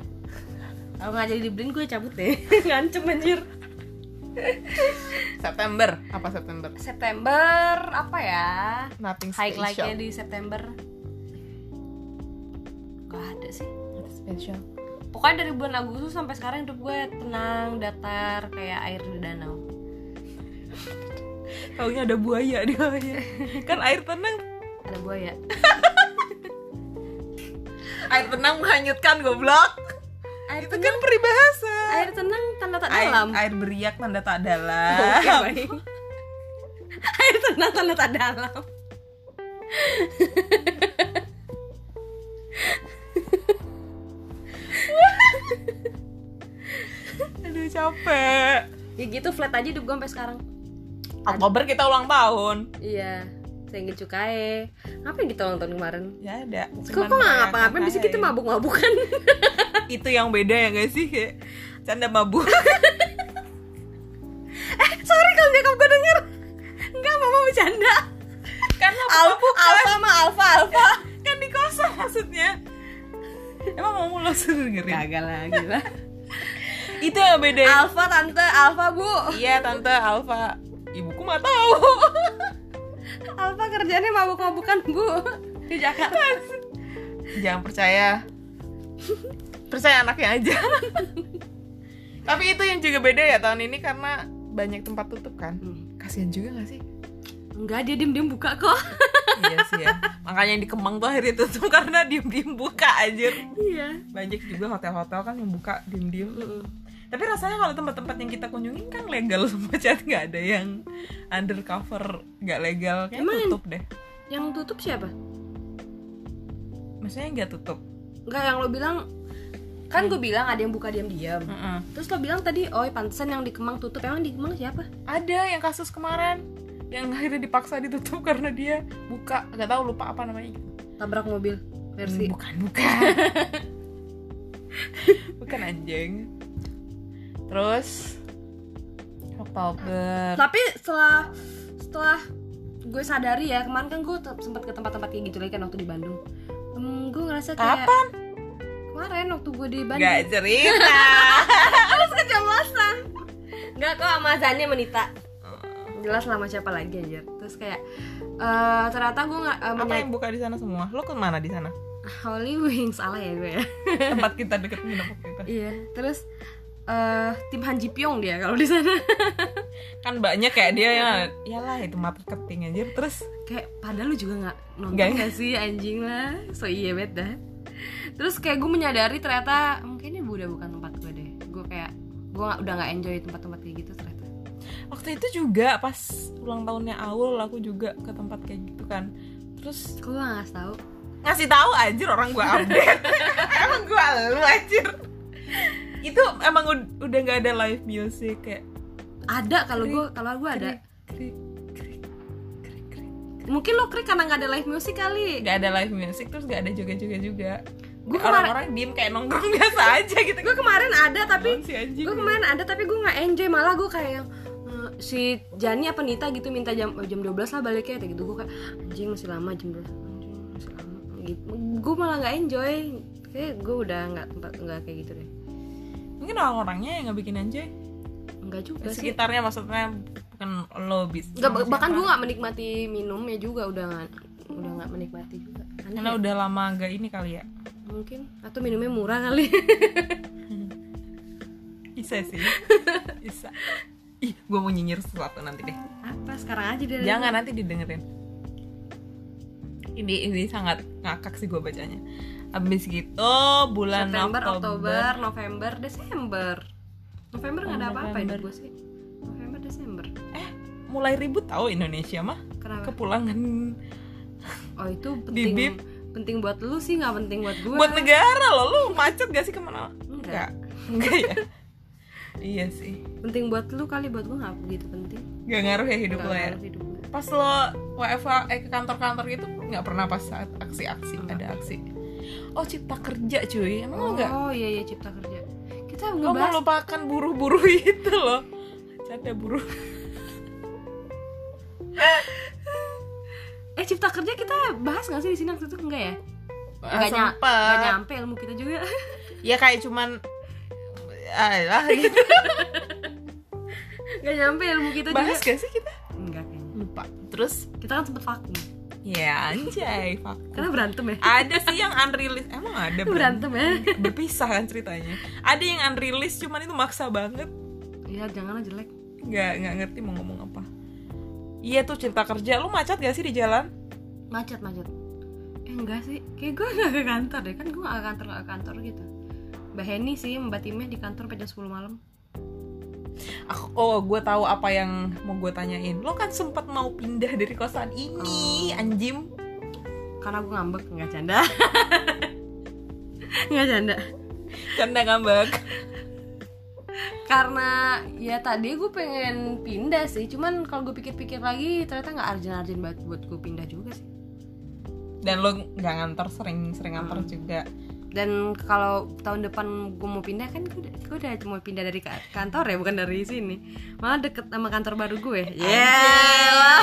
kalau nggak jadi dibeliin gue cabut deh ngancem anjir
September apa September?
September apa ya?
Nothing
High like-nya
special.
di September. Gak ada sih.
Nothing special.
Pokoknya dari bulan Agustus sampai sekarang hidup gue tenang, datar, kayak air di danau.
Taunya ada buaya di bawahnya. Kan air tenang.
Ada buaya.
Air tenang menghanyutkan goblok.
Air
Itu kan peribahasa.
Air tenang tanda tak
air,
dalam.
air beriak tanda tak dalam.
Oke, baik. air tenang tanda tak dalam.
Oh, Aduh capek.
ya gitu flat aja hidup gue sampai sekarang
Oktober kita ulang tahun.
iya saya ingin cukai ngapain kita ulang tahun kemarin
Ya ada. Cuman
kok kok nggak
merayakan
ngapa-ngapain bisa
aja
kita
ya.
mabuk-mabukan
Itu yang beda ya gak sih? Kayak canda mabuk.
eh sorry kalau nyokap gue denger enggak mama bercanda
kan mabuk
alfa alfa sama alfa alfa
kan di kosan maksudnya. Emang mau mulus dengerin?
kagak lah gila
Itu yang beda. ya.
alfa tante alfa bu
Iya tante Alfa. Ibuku mah tahu.
alfa kerjanya mabuk-mabukan bu di Jakarta
Jangan percaya. Percaya anaknya aja. Tapi itu yang juga beda ya tahun ini karena banyak tempat tutup kan. Kasihan juga gak sih?
enggak Hmm. dia diem-diem buka kok
iya sih ya. Makanya yang di Kemang tuh akhirnya tutup karena diem-diem buka anjir.
iya
Banyak juga hotel-hotel kan yang buka diem-diem. Tapi rasanya kalau tempat-tempat yang kita kunjungin kan legal semua chat nggak ada yang undercover nggak legal kayak
Emang?
tutup deh.
yang tutup siapa
Maksudnya nggak tutup.
enggak yang lo bilang kan gue bilang ada yang buka diam-diam
Mm-mm.
terus lo bilang tadi oh pantesan yang di Kemang tutup emang di Kemang siapa
Ada yang kasus kemarin yang akhirnya dipaksa ditutup karena dia buka nggak tahu lupa apa namanya.
tabrak mobil versi
Bukan bukan. bukan anjing. Terus Oktober.
tapi setelah setelah gue sadari ya kemarin kan gue te- sempet ke tempat-tempat kayak gitu lagi kan waktu di Bandung Hmm, gue ngerasa kayak
Kapan?
kemarin waktu gue di Bandung
Gak cerita.
terus kecemasan nggak kok sama Zani sama Nita jelas lah sama siapa lagi aja terus kayak eh, ternyata gue nggak eh,
apa
menyay-
yang buka di sana semua? Lo kemana di sana?
Holy Wings salah ya gue ya
Tempat kita deket minum kita.
iya terus eh, tim Han Ji Pyong dia kalau di sana
Kan banyak kayak dia
Iya.
ya. Iyalah itu marketing anjir. Terus
kayak padahal lu juga nggak nonton
Nggak.
gak, sih anjing lah so iya bet dah terus kayak gue menyadari ternyata mungkin ini udah bukan tempat gue deh gue kayak gue nggak- udah nggak enjoy tempat-tempat kayak gitu ternyata
waktu itu juga pas ulang tahunnya Aul aku juga ke tempat kayak gitu kan. Terus
gue nggak ngasih tahu
ngasih tahu anjir orang gua update emang gua lu anjir itu emang ud- udah nggak ada live music kayak
ada kalau gue kalau gue ada
krik, krik, krik, krik.
mungkin lo krik karena nggak ada live music kali
nggak ada live music terus nggak ada juga juga juga
Gua kemarin-
orang-orang diem kayak nongkrong biasa aja gitu
gue kemarin ada tapi
Apaan sih anjing
gue kemarin ada tapi gue nggak enjoy malah gue kayak yang eh, si Jani apa Nita gitu minta jam eh, jam 12 lah baliknya kayak gitu gue kayak anjing masih lama jam 12 anjing masih lama gitu gue malah nggak enjoy kayak gue udah nggak tempat nggak kayak gitu deh
mungkin orang-orangnya yang nggak bikin anjay
nggak juga sih
sekitarnya maksudnya bukan lo bis
nggak bah- bahkan gue nggak menikmati minumnya juga udah nggak udah nggak menikmati juga Aneh
karena udah lama nggak ini kali ya
mungkin atau minumnya murah kali
bisa sih bisa ih gue mau nyinyir sesuatu nanti deh
apa sekarang aja deh
Jangan nanti didengerin. Ini ini sangat ngakak sih gue bacanya. Abis gitu bulan
November,
Oktober,
Oktober, November, Desember. November nggak ada
Oh,
apa-apa ini
November.
gue sih. November, Desember.
eh mulai ribut tahu Indonesia mah
Kenapa?
kepulangan
Oh itu penting.
Bibip.
Penting buat lu sih nggak penting buat gue.
buat negara loh lu macet gak sih kemana?
Enggak.
enggak ya. iya sih,
Penting buat lu kali buat gue nggak begitu penting.
gak ngaruh ya hidup
Nggak
lo ya.
ngaruh hidup gue.
Pas lo WFH eh, ke kantor-kantor gitu nggak pernah pas saat aksi-aksi ada aksi. Oh cipta kerja cuy, emang lo nggak?
Oh iya iya cipta kerja. Kita
Lo
ngebahas
melupakan buruh-buruh itu loh Canda buruh
eh cipta kerja kita bahas nggak sih di sini waktu itu enggak ya?
Gak
nya- nggak nyampe ilmu kita juga.
Ya kayak cuman Alah gitu
Nggak nyampe ilmu kita
Bahas
gitu juga.
gak sih kita?
Enggak kayaknya.
Lupa Terus
Kita kan sempet vakum.
Ya anjay fuck.
Karena berantem ya.
Ada sih yang unreleased Emang ada Bran?
berantem ya.
Berpisah kan ceritanya Ada yang unreleased cuman itu maksa banget
Iya janganlah jelek.
Gak, nggak ngerti mau ngomong apa Iya tuh cerita kerja Lu macet gak sih di jalan?
macet macet eh enggak sih kayak gue nggak ke kantor deh kan gue nggak ke kantor nggak ke kantor gitu mbak Heni sih mbak timnya di kantor sampai jam 10 malam
Aku- oh gue tahu apa yang mau gue tanyain Lo kan sempat mau pindah dari kosan ini
Oh.
Anjim
karena gue ngambek nggak canda nggak canda
Canda ngambek
karena ya tadi gue pengen pindah sih cuman kalau gue pikir-pikir lagi ternyata nggak arjen-arjen banget buat gue pindah juga sih
dan lo nggak ngantor sering-sering ngantor
Hmm.
juga
dan kalau tahun depan gue mau pindah kan gue udah, gue udah mau pindah dari ka- kantor ya bukan dari sini malah deket sama kantor baru gue yeah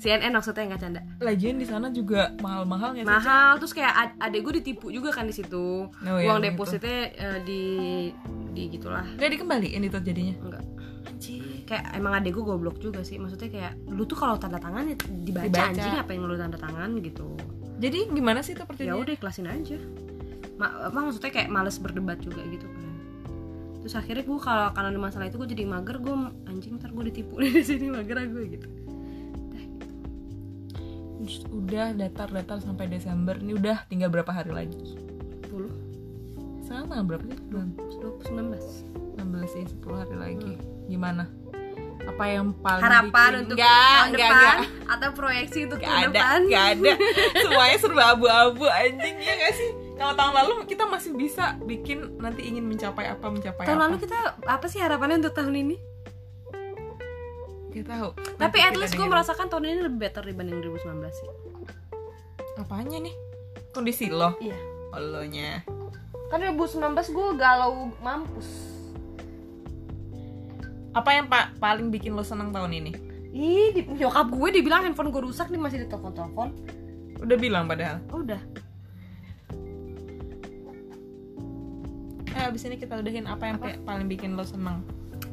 CNN maksudnya nggak canda
lagian di sana juga mahal-mahal nggak sih
mahal terus kayak ad- adek gue ditipu juga kan di situ
Oh, iya,
uang
gitu.
depositnya eh, di di gitulah
nggak dikembaliin itu jadinya
enggak kayak emang adek gue goblok juga sih maksudnya kayak lu tuh kalau tanda tangan ya dibaca,
Dibaca.
anjing apa yang lu tanda tangan gitu
jadi gimana sih itu
ya
perjanjian
udah ikhlasin aja Ma apa maksudnya kayak males berdebat juga gitu kan terus akhirnya gue kalau karena ada masalah itu gue jadi mager gue anjing ntar gue ditipu di sini mager gue gitu
Terus udah datar-datar sampai Desember ini udah tinggal berapa hari lagi
10
sekarang tanggal berapa sih bulan
19
16 sih 10 hari lagi gimana apa yang paling
harapan
bikin-
untuk
Nggak,
tahun
nggak,
depan
nggak.
atau proyeksi untuk
Gak
tahun
ada,
depan
gak ada. Semuanya serba abu-abu anjing ya gak sih? Kalau tahun lalu kita masih bisa bikin nanti ingin mencapai apa mencapai
tahun
apa.
lalu kita apa sih harapannya untuk tahun ini
Gak tahu.
tapi
Nanti
at
kita
least gue
dengerin.
merasakan tahun ini lebih better dibanding 2019 sih
apanya nih? Kondisi lo,
iya
olonya.
kan 2019 gue galau mampus
Apa yang pak paling bikin lo senang tahun ini?
ih di, nyokap gue dibilang handphone gue rusak nih masih ditelepon-telepon
Udah bilang padahal.
udah
Eh, abis ini kita udahin apa yang pa- paling bikin lo senang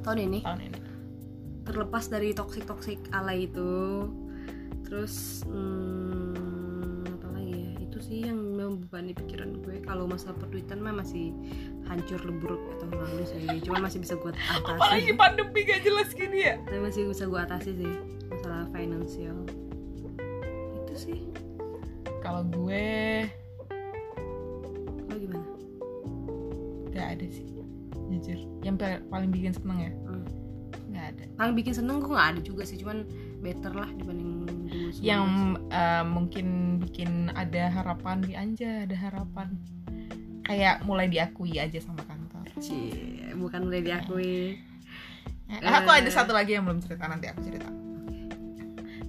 tahun ini
tahun ini?
terlepas dari toxic toxic ala itu terus hmm, apa lagi ya itu sih yang membebani pikiran gue kalau masalah perduitan mah masih hancur lebur kayak tahun lalu sih cuma masih bisa gue
Apalagi
atasi
pandemi gak jelas gini ya.
tapi masih bisa gue atasi sih masalah finansial itu sih
Kalau gue
lo gimana
gak ada sih, jujur. Yang pa- paling bikin senang ya?
Hmm.
Gak ada.
paling bikin seneng gue nggak ada juga sih cuman better lah dibanding dulu sebelumnya.
yang eh, mungkin bikin ada harapan di Anja ada harapan kayak mulai diakui aja sama kantor
Cie, bukan mulai diakui
Eh,
Eh.
aku ada satu lagi yang belum cerita nanti aku cerita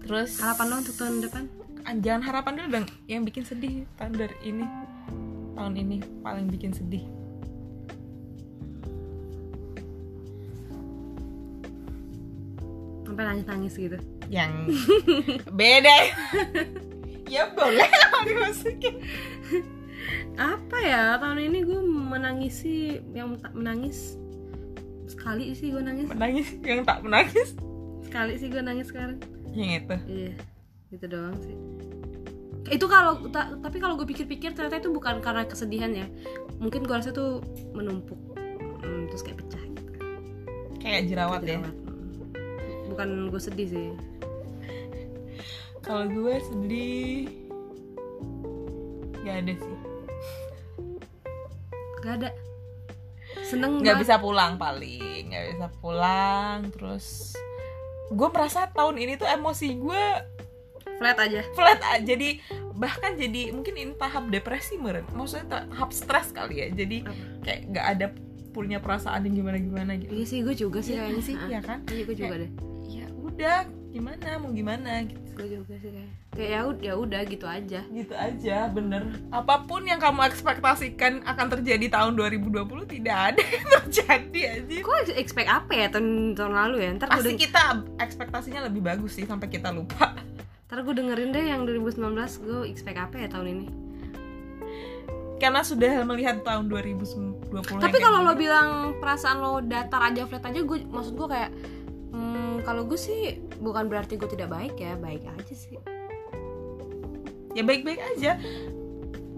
terus
harapan lo untuk tahun depan
Ah, jangan harapan dulu dong yang bikin sedih tahun dari ini tahun ini paling bikin sedih
sampai nangis nangis gitu
yang beda ya boleh lah dimasukin
apa ya tahun ini gue menangisi yang tak menangis sekali sih gue nangis
menangis yang tak menangis
sekali sih gue nangis sekarang
yang itu
iya gitu doang sih itu kalau ta- tapi kalau gue pikir-pikir ternyata itu bukan karena kesedihan ya mungkin gue rasa tuh menumpuk Hmm, terus kayak pecah gitu
kayak jerawat ya
jerawat. Hmm. bukan gue sedih sih
Kalau gue sedih Gak ada sih
gak ada seneng
Gak
banget.
bisa pulang paling Gak bisa pulang Terus Gue merasa tahun ini tuh emosi gue
flat aja
flat aja Jadi bahkan jadi mungkin ini tahap depresi meren Maksudnya tahap stres kali ya Jadi
Apa?
kayak gak ada punya perasaan yang gimana-gimana gitu
iya sih gue juga sih
Iya
kayaknya
sih,
Ah,
iya kan?
iya gue juga deh
Ya udah gimana mau gimana gitu
gue juga sih kayak kayak ya ud- ya udah gitu aja
gitu aja bener apapun yang kamu ekspektasikan akan terjadi tahun 2020 tidak ada yang terjadi aja
Gue expect apa ya tahun, tahun lalu ya? Ntar gue
pasti kita ekspektasinya lebih bagus sih sampai kita lupa
ntar gue dengerin deh yang 2019 gue expect apa ya tahun ini.
karena sudah melihat tahun 2020 yang
Tapi
kayak
kalau lo
gini.
bilang perasaan lo datar aja flat aja, gue maksud gue kayak hmm, kalau gue sih bukan berarti gue tidak baik ya, baik aja sih.
ya baik-baik aja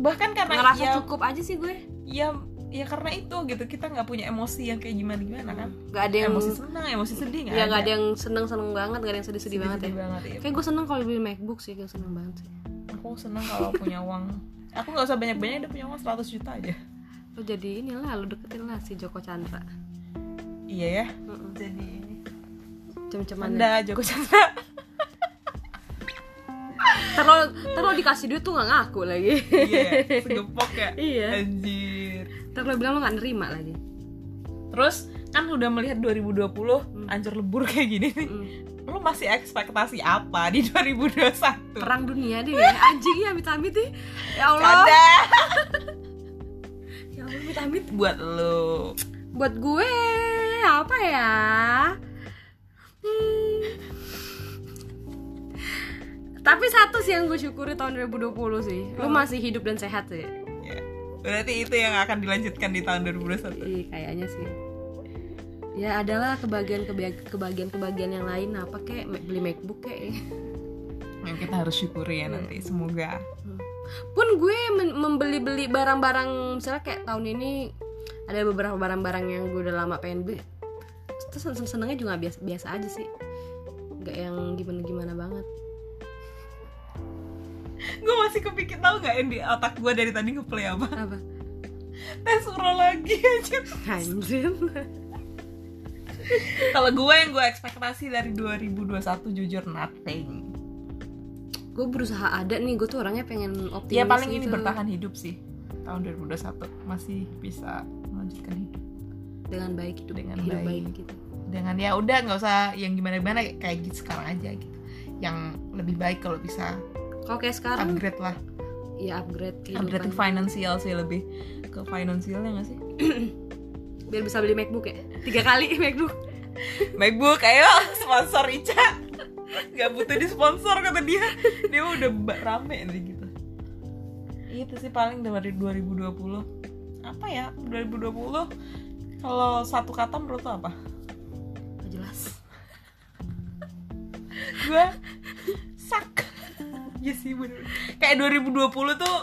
bahkan karena
Ngerasa
ya,
cukup aja sih gue.
ya ya karena itu gitu kita nggak punya emosi yang kayak gimana gimana kan
Gak ada yang
emosi senang emosi sedih nggak
ya gak ada yang seneng seneng banget, gak ada yang sedih sedih banget ya.
Sedih banget ya.
Kayak gue seneng kalau beli MacBook sih, gue seneng banget sih.
aku senang kalau punya uang aku nggak usah banyak-banyak udah punya uang 100 juta aja
Lo jadi inilah, lo deketin lah si Joko Chandra.
iya ya
Mm-mm.
jadi
Cem-cemannya.
Anda Joko Chandra
ya. Ntar lo, ntar lo dikasih duit tuh gak ngaku lagi.
iya segepok ya
Iya.
anjir
Ntar lo bilang lo gak nerima lagi
Terus kan udah melihat 2020
Hmm.
anjur lebur kayak gini nih.
Mm.
Lu masih ekspektasi apa di 2021?
perang dunia deh ya. anjing ya amit-amit deh ya Allah
Canda
ya Allah amit-amit
buat lu.
buat gue apa ya Hmm. tapi satu sih yang gue syukuri tahun 2020 sih lu masih hidup dan sehat sih
Ya. Berarti itu yang akan dilanjutkan di tahun 2021.
Ih, kayaknya sih ya adalah kebagian kebagian kebagian yang lain apa kayak beli macbook kayak
Yang kita harus syukuri ya nanti. Semoga
pun gue men- membeli-beli barang-barang misalnya kayak tahun ini ada beberapa barang-barang yang gue udah lama pengen beli terus sen- sen- senengnya juga biasa biasa aja sih nggak yang gimana-gimana banget
gue masih kepikiran tau gak yang di otak gue dari tadi ngeplay apa
apa
tes urologi aja
anjir
kalau gue yang gue ekspektasi dari 2021 jujur nothing
gue berusaha ada nih gue tuh orangnya pengen optimis
ya paling ini
gitu.
bertahan hidup sih tahun 2021 masih bisa melanjutkan hidup
dengan baik hidup
Dengan
hidup
baik.
baik. gitu
dengan ya udah nggak usah yang gimana gimana kayak gitu sekarang aja gitu yang lebih baik kalau bisa
kalau kayak sekarang
upgrade lah
ya upgrade
upgrade
kehidupan
ke financial sih lebih ke finansialnya nggak sih
biar bisa beli macbook ya tiga kali macbook
MacBook ayo sponsor Ica nggak butuh di sponsor kata dia dia mah udah ba- rame nih gitu itu sih paling dari 2020 apa ya 2020 kalau satu kata menurut lo apa
Gak jelas
gue sak ya sih bener kayak 2020 tuh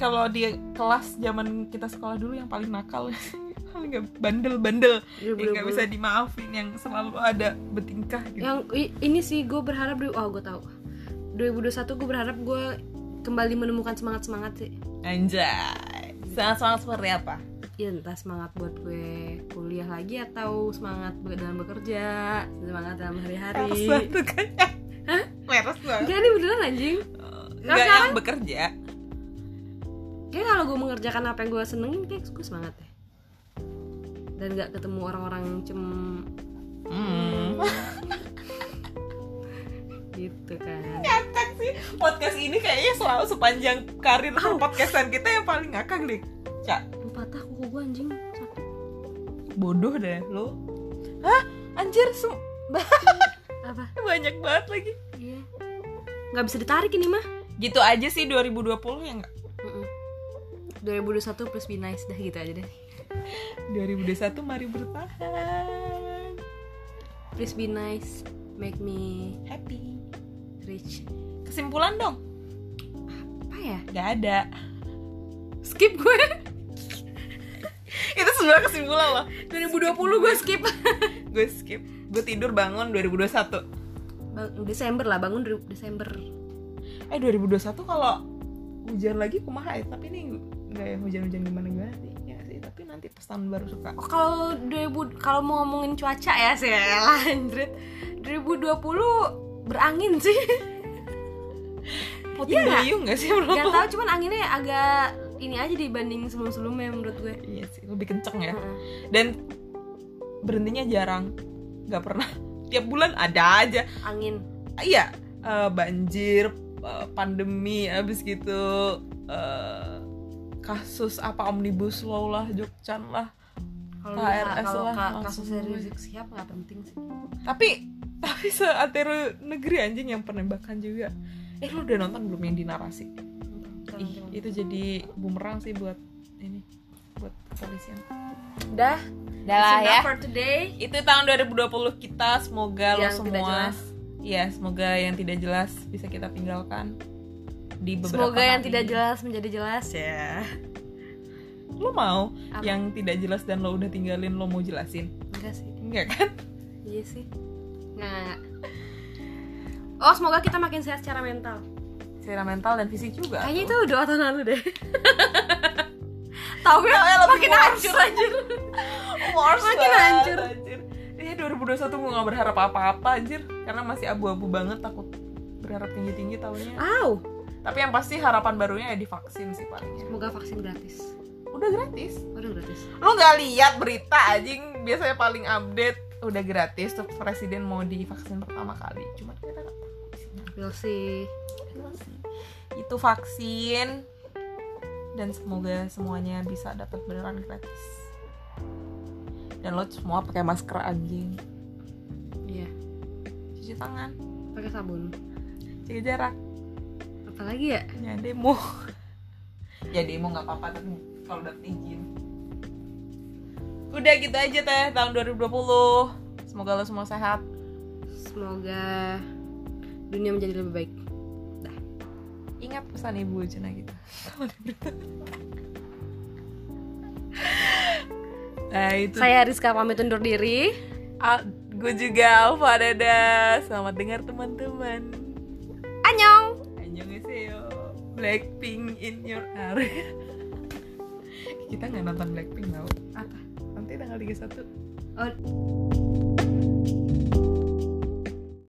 kalau di kelas zaman kita sekolah dulu yang paling nakal paling nggak bandel-bandel yang nggak
2020.
bisa dimaafin yang selalu ada bertingkah gitu
yang i- ini sih gue berharap di- oh gue tahu 2021 gue berharap gue kembali menemukan semangat semangat sih
Anjay. Sangat-sangat seperti apa?
ya entah semangat buat gue kuliah lagi atau semangat be- dalam bekerja semangat dalam
Leres
hari-hari
banget kayaknya.
Hah?
Leres banget.
Enggak ini beneran anjing
Enggak
sekarang?
yang bekerja.
Kayak kalau gue mengerjakan apa yang gue senengin kayak gue semangat deh dan gak ketemu orang-orang cem
Hmm.
gitu kan
Ngakak sih. Podcast ini kayaknya selalu sepanjang karir podcastan kita yang paling ngakak deh. Cak,
Lu patah kuku gue anjing sakit
bodoh deh lu. Hah? Anjir, sem-
apa
banyak banget lagi.
iya nggak bisa ditarik ini mah
Gitu aja sih 2020 ya enggak?
Mm-mm. 2021 plus be nice dah gitu aja deh
2021 mari bertahan.
please be nice make me
Happy.
rich
Kesimpulan dong?
apa ya
Gak ada.
skip gue
Itu sebenarnya kesimpulan loh.
2020 gue skip
gue skip gue tidur bangun 2021
Bang, Desember lah bangun dari Desember
eh 2021 kalau hujan lagi kumaha ya tapi ini nggak yang hujan-hujan gimana gimana sih ya nggak sih tapi nanti pas tahun baru suka
oh, kalau 2000 kalau mau ngomongin cuaca ya sih lanjut 2020 berangin sih
putih beliung Iya. nggak sih menurut
gak
lo
tahu cuman anginnya agak ini aja dibanding sebelum-sebelumnya menurut gue
iya sih lebih kenceng ya
Heeh.
dan berhentinya jarang nggak pernah tiap bulan ada aja
angin
Ah, iya eh, banjir eh, pandemi abis gitu eh, kasus apa omnibus law lah jokcan lah
kalau
KRS
kalau
lah,
ka-
langsung
kasus
gue.
serius siap nggak penting sih
tapi tapi seantero negeri anjing yang penembakan juga eh lu udah nonton belum yang di narasi Ih, itu jadi bumerang sih buat ini buat kepolisian
dah
dah lah ya
for today
itu tahun 2020 kita semoga lo
Yang
semua
tidak jelas.
ya semoga yang tidak jelas bisa kita tinggalkan di beberapa
Semoga yang
hari.
tidak jelas menjadi jelas ya.
lo mau
Apa?
yang tidak jelas dan lo udah tinggalin lo mau jelasin
Enggak sih.
enggak kan
Iya sih. Nah. Oh, semoga kita makin sehat secara mental.
secara mental dan fisik juga
Kayaknya
tuh.
itu doa tahun lalu deh. Tahu ya, makin hancur anjir.
Mars
Makin
banget,
hancur.
anjir. Iya 2021 gue gak berharap apa-apa anjir Karena masih abu-abu banget takut berharap
Ah.
tinggi-tinggi tahunnya
Au,
Tapi yang pasti harapan barunya ya divaksin sih palingnya
semoga vaksin gratis.
udah gratis
Udah gratis.
lu nggak lihat berita anjing biasanya paling update udah gratis terus presiden mau divaksin pertama kali cuma kita nggak tahu isinya
We'll see.
apa sih. itu vaksin dan semoga semuanya bisa dapat beneran gratis dan lo semua pakai masker anjing
Iya.
cuci tangan
Pakai sabun.
jaga jarak
Apalagi ya?
ya demo ya demo nggak apa-apa tapi kalau udah izin udah gitu aja teh tahun 2020 semoga lo semua sehat
Semoga dunia menjadi lebih baik.
ingat pesan ibu Cina gitu. kita nah itu
Saya Rizka pamit undur diri.
Al- gue juga Alfa Dada selamat dengar teman-teman
Annyeong.
Annyeonghaseyo Blackpink in your area kita nggak nonton Blackpink tau
Apa?
nanti tanggal 31
Oh,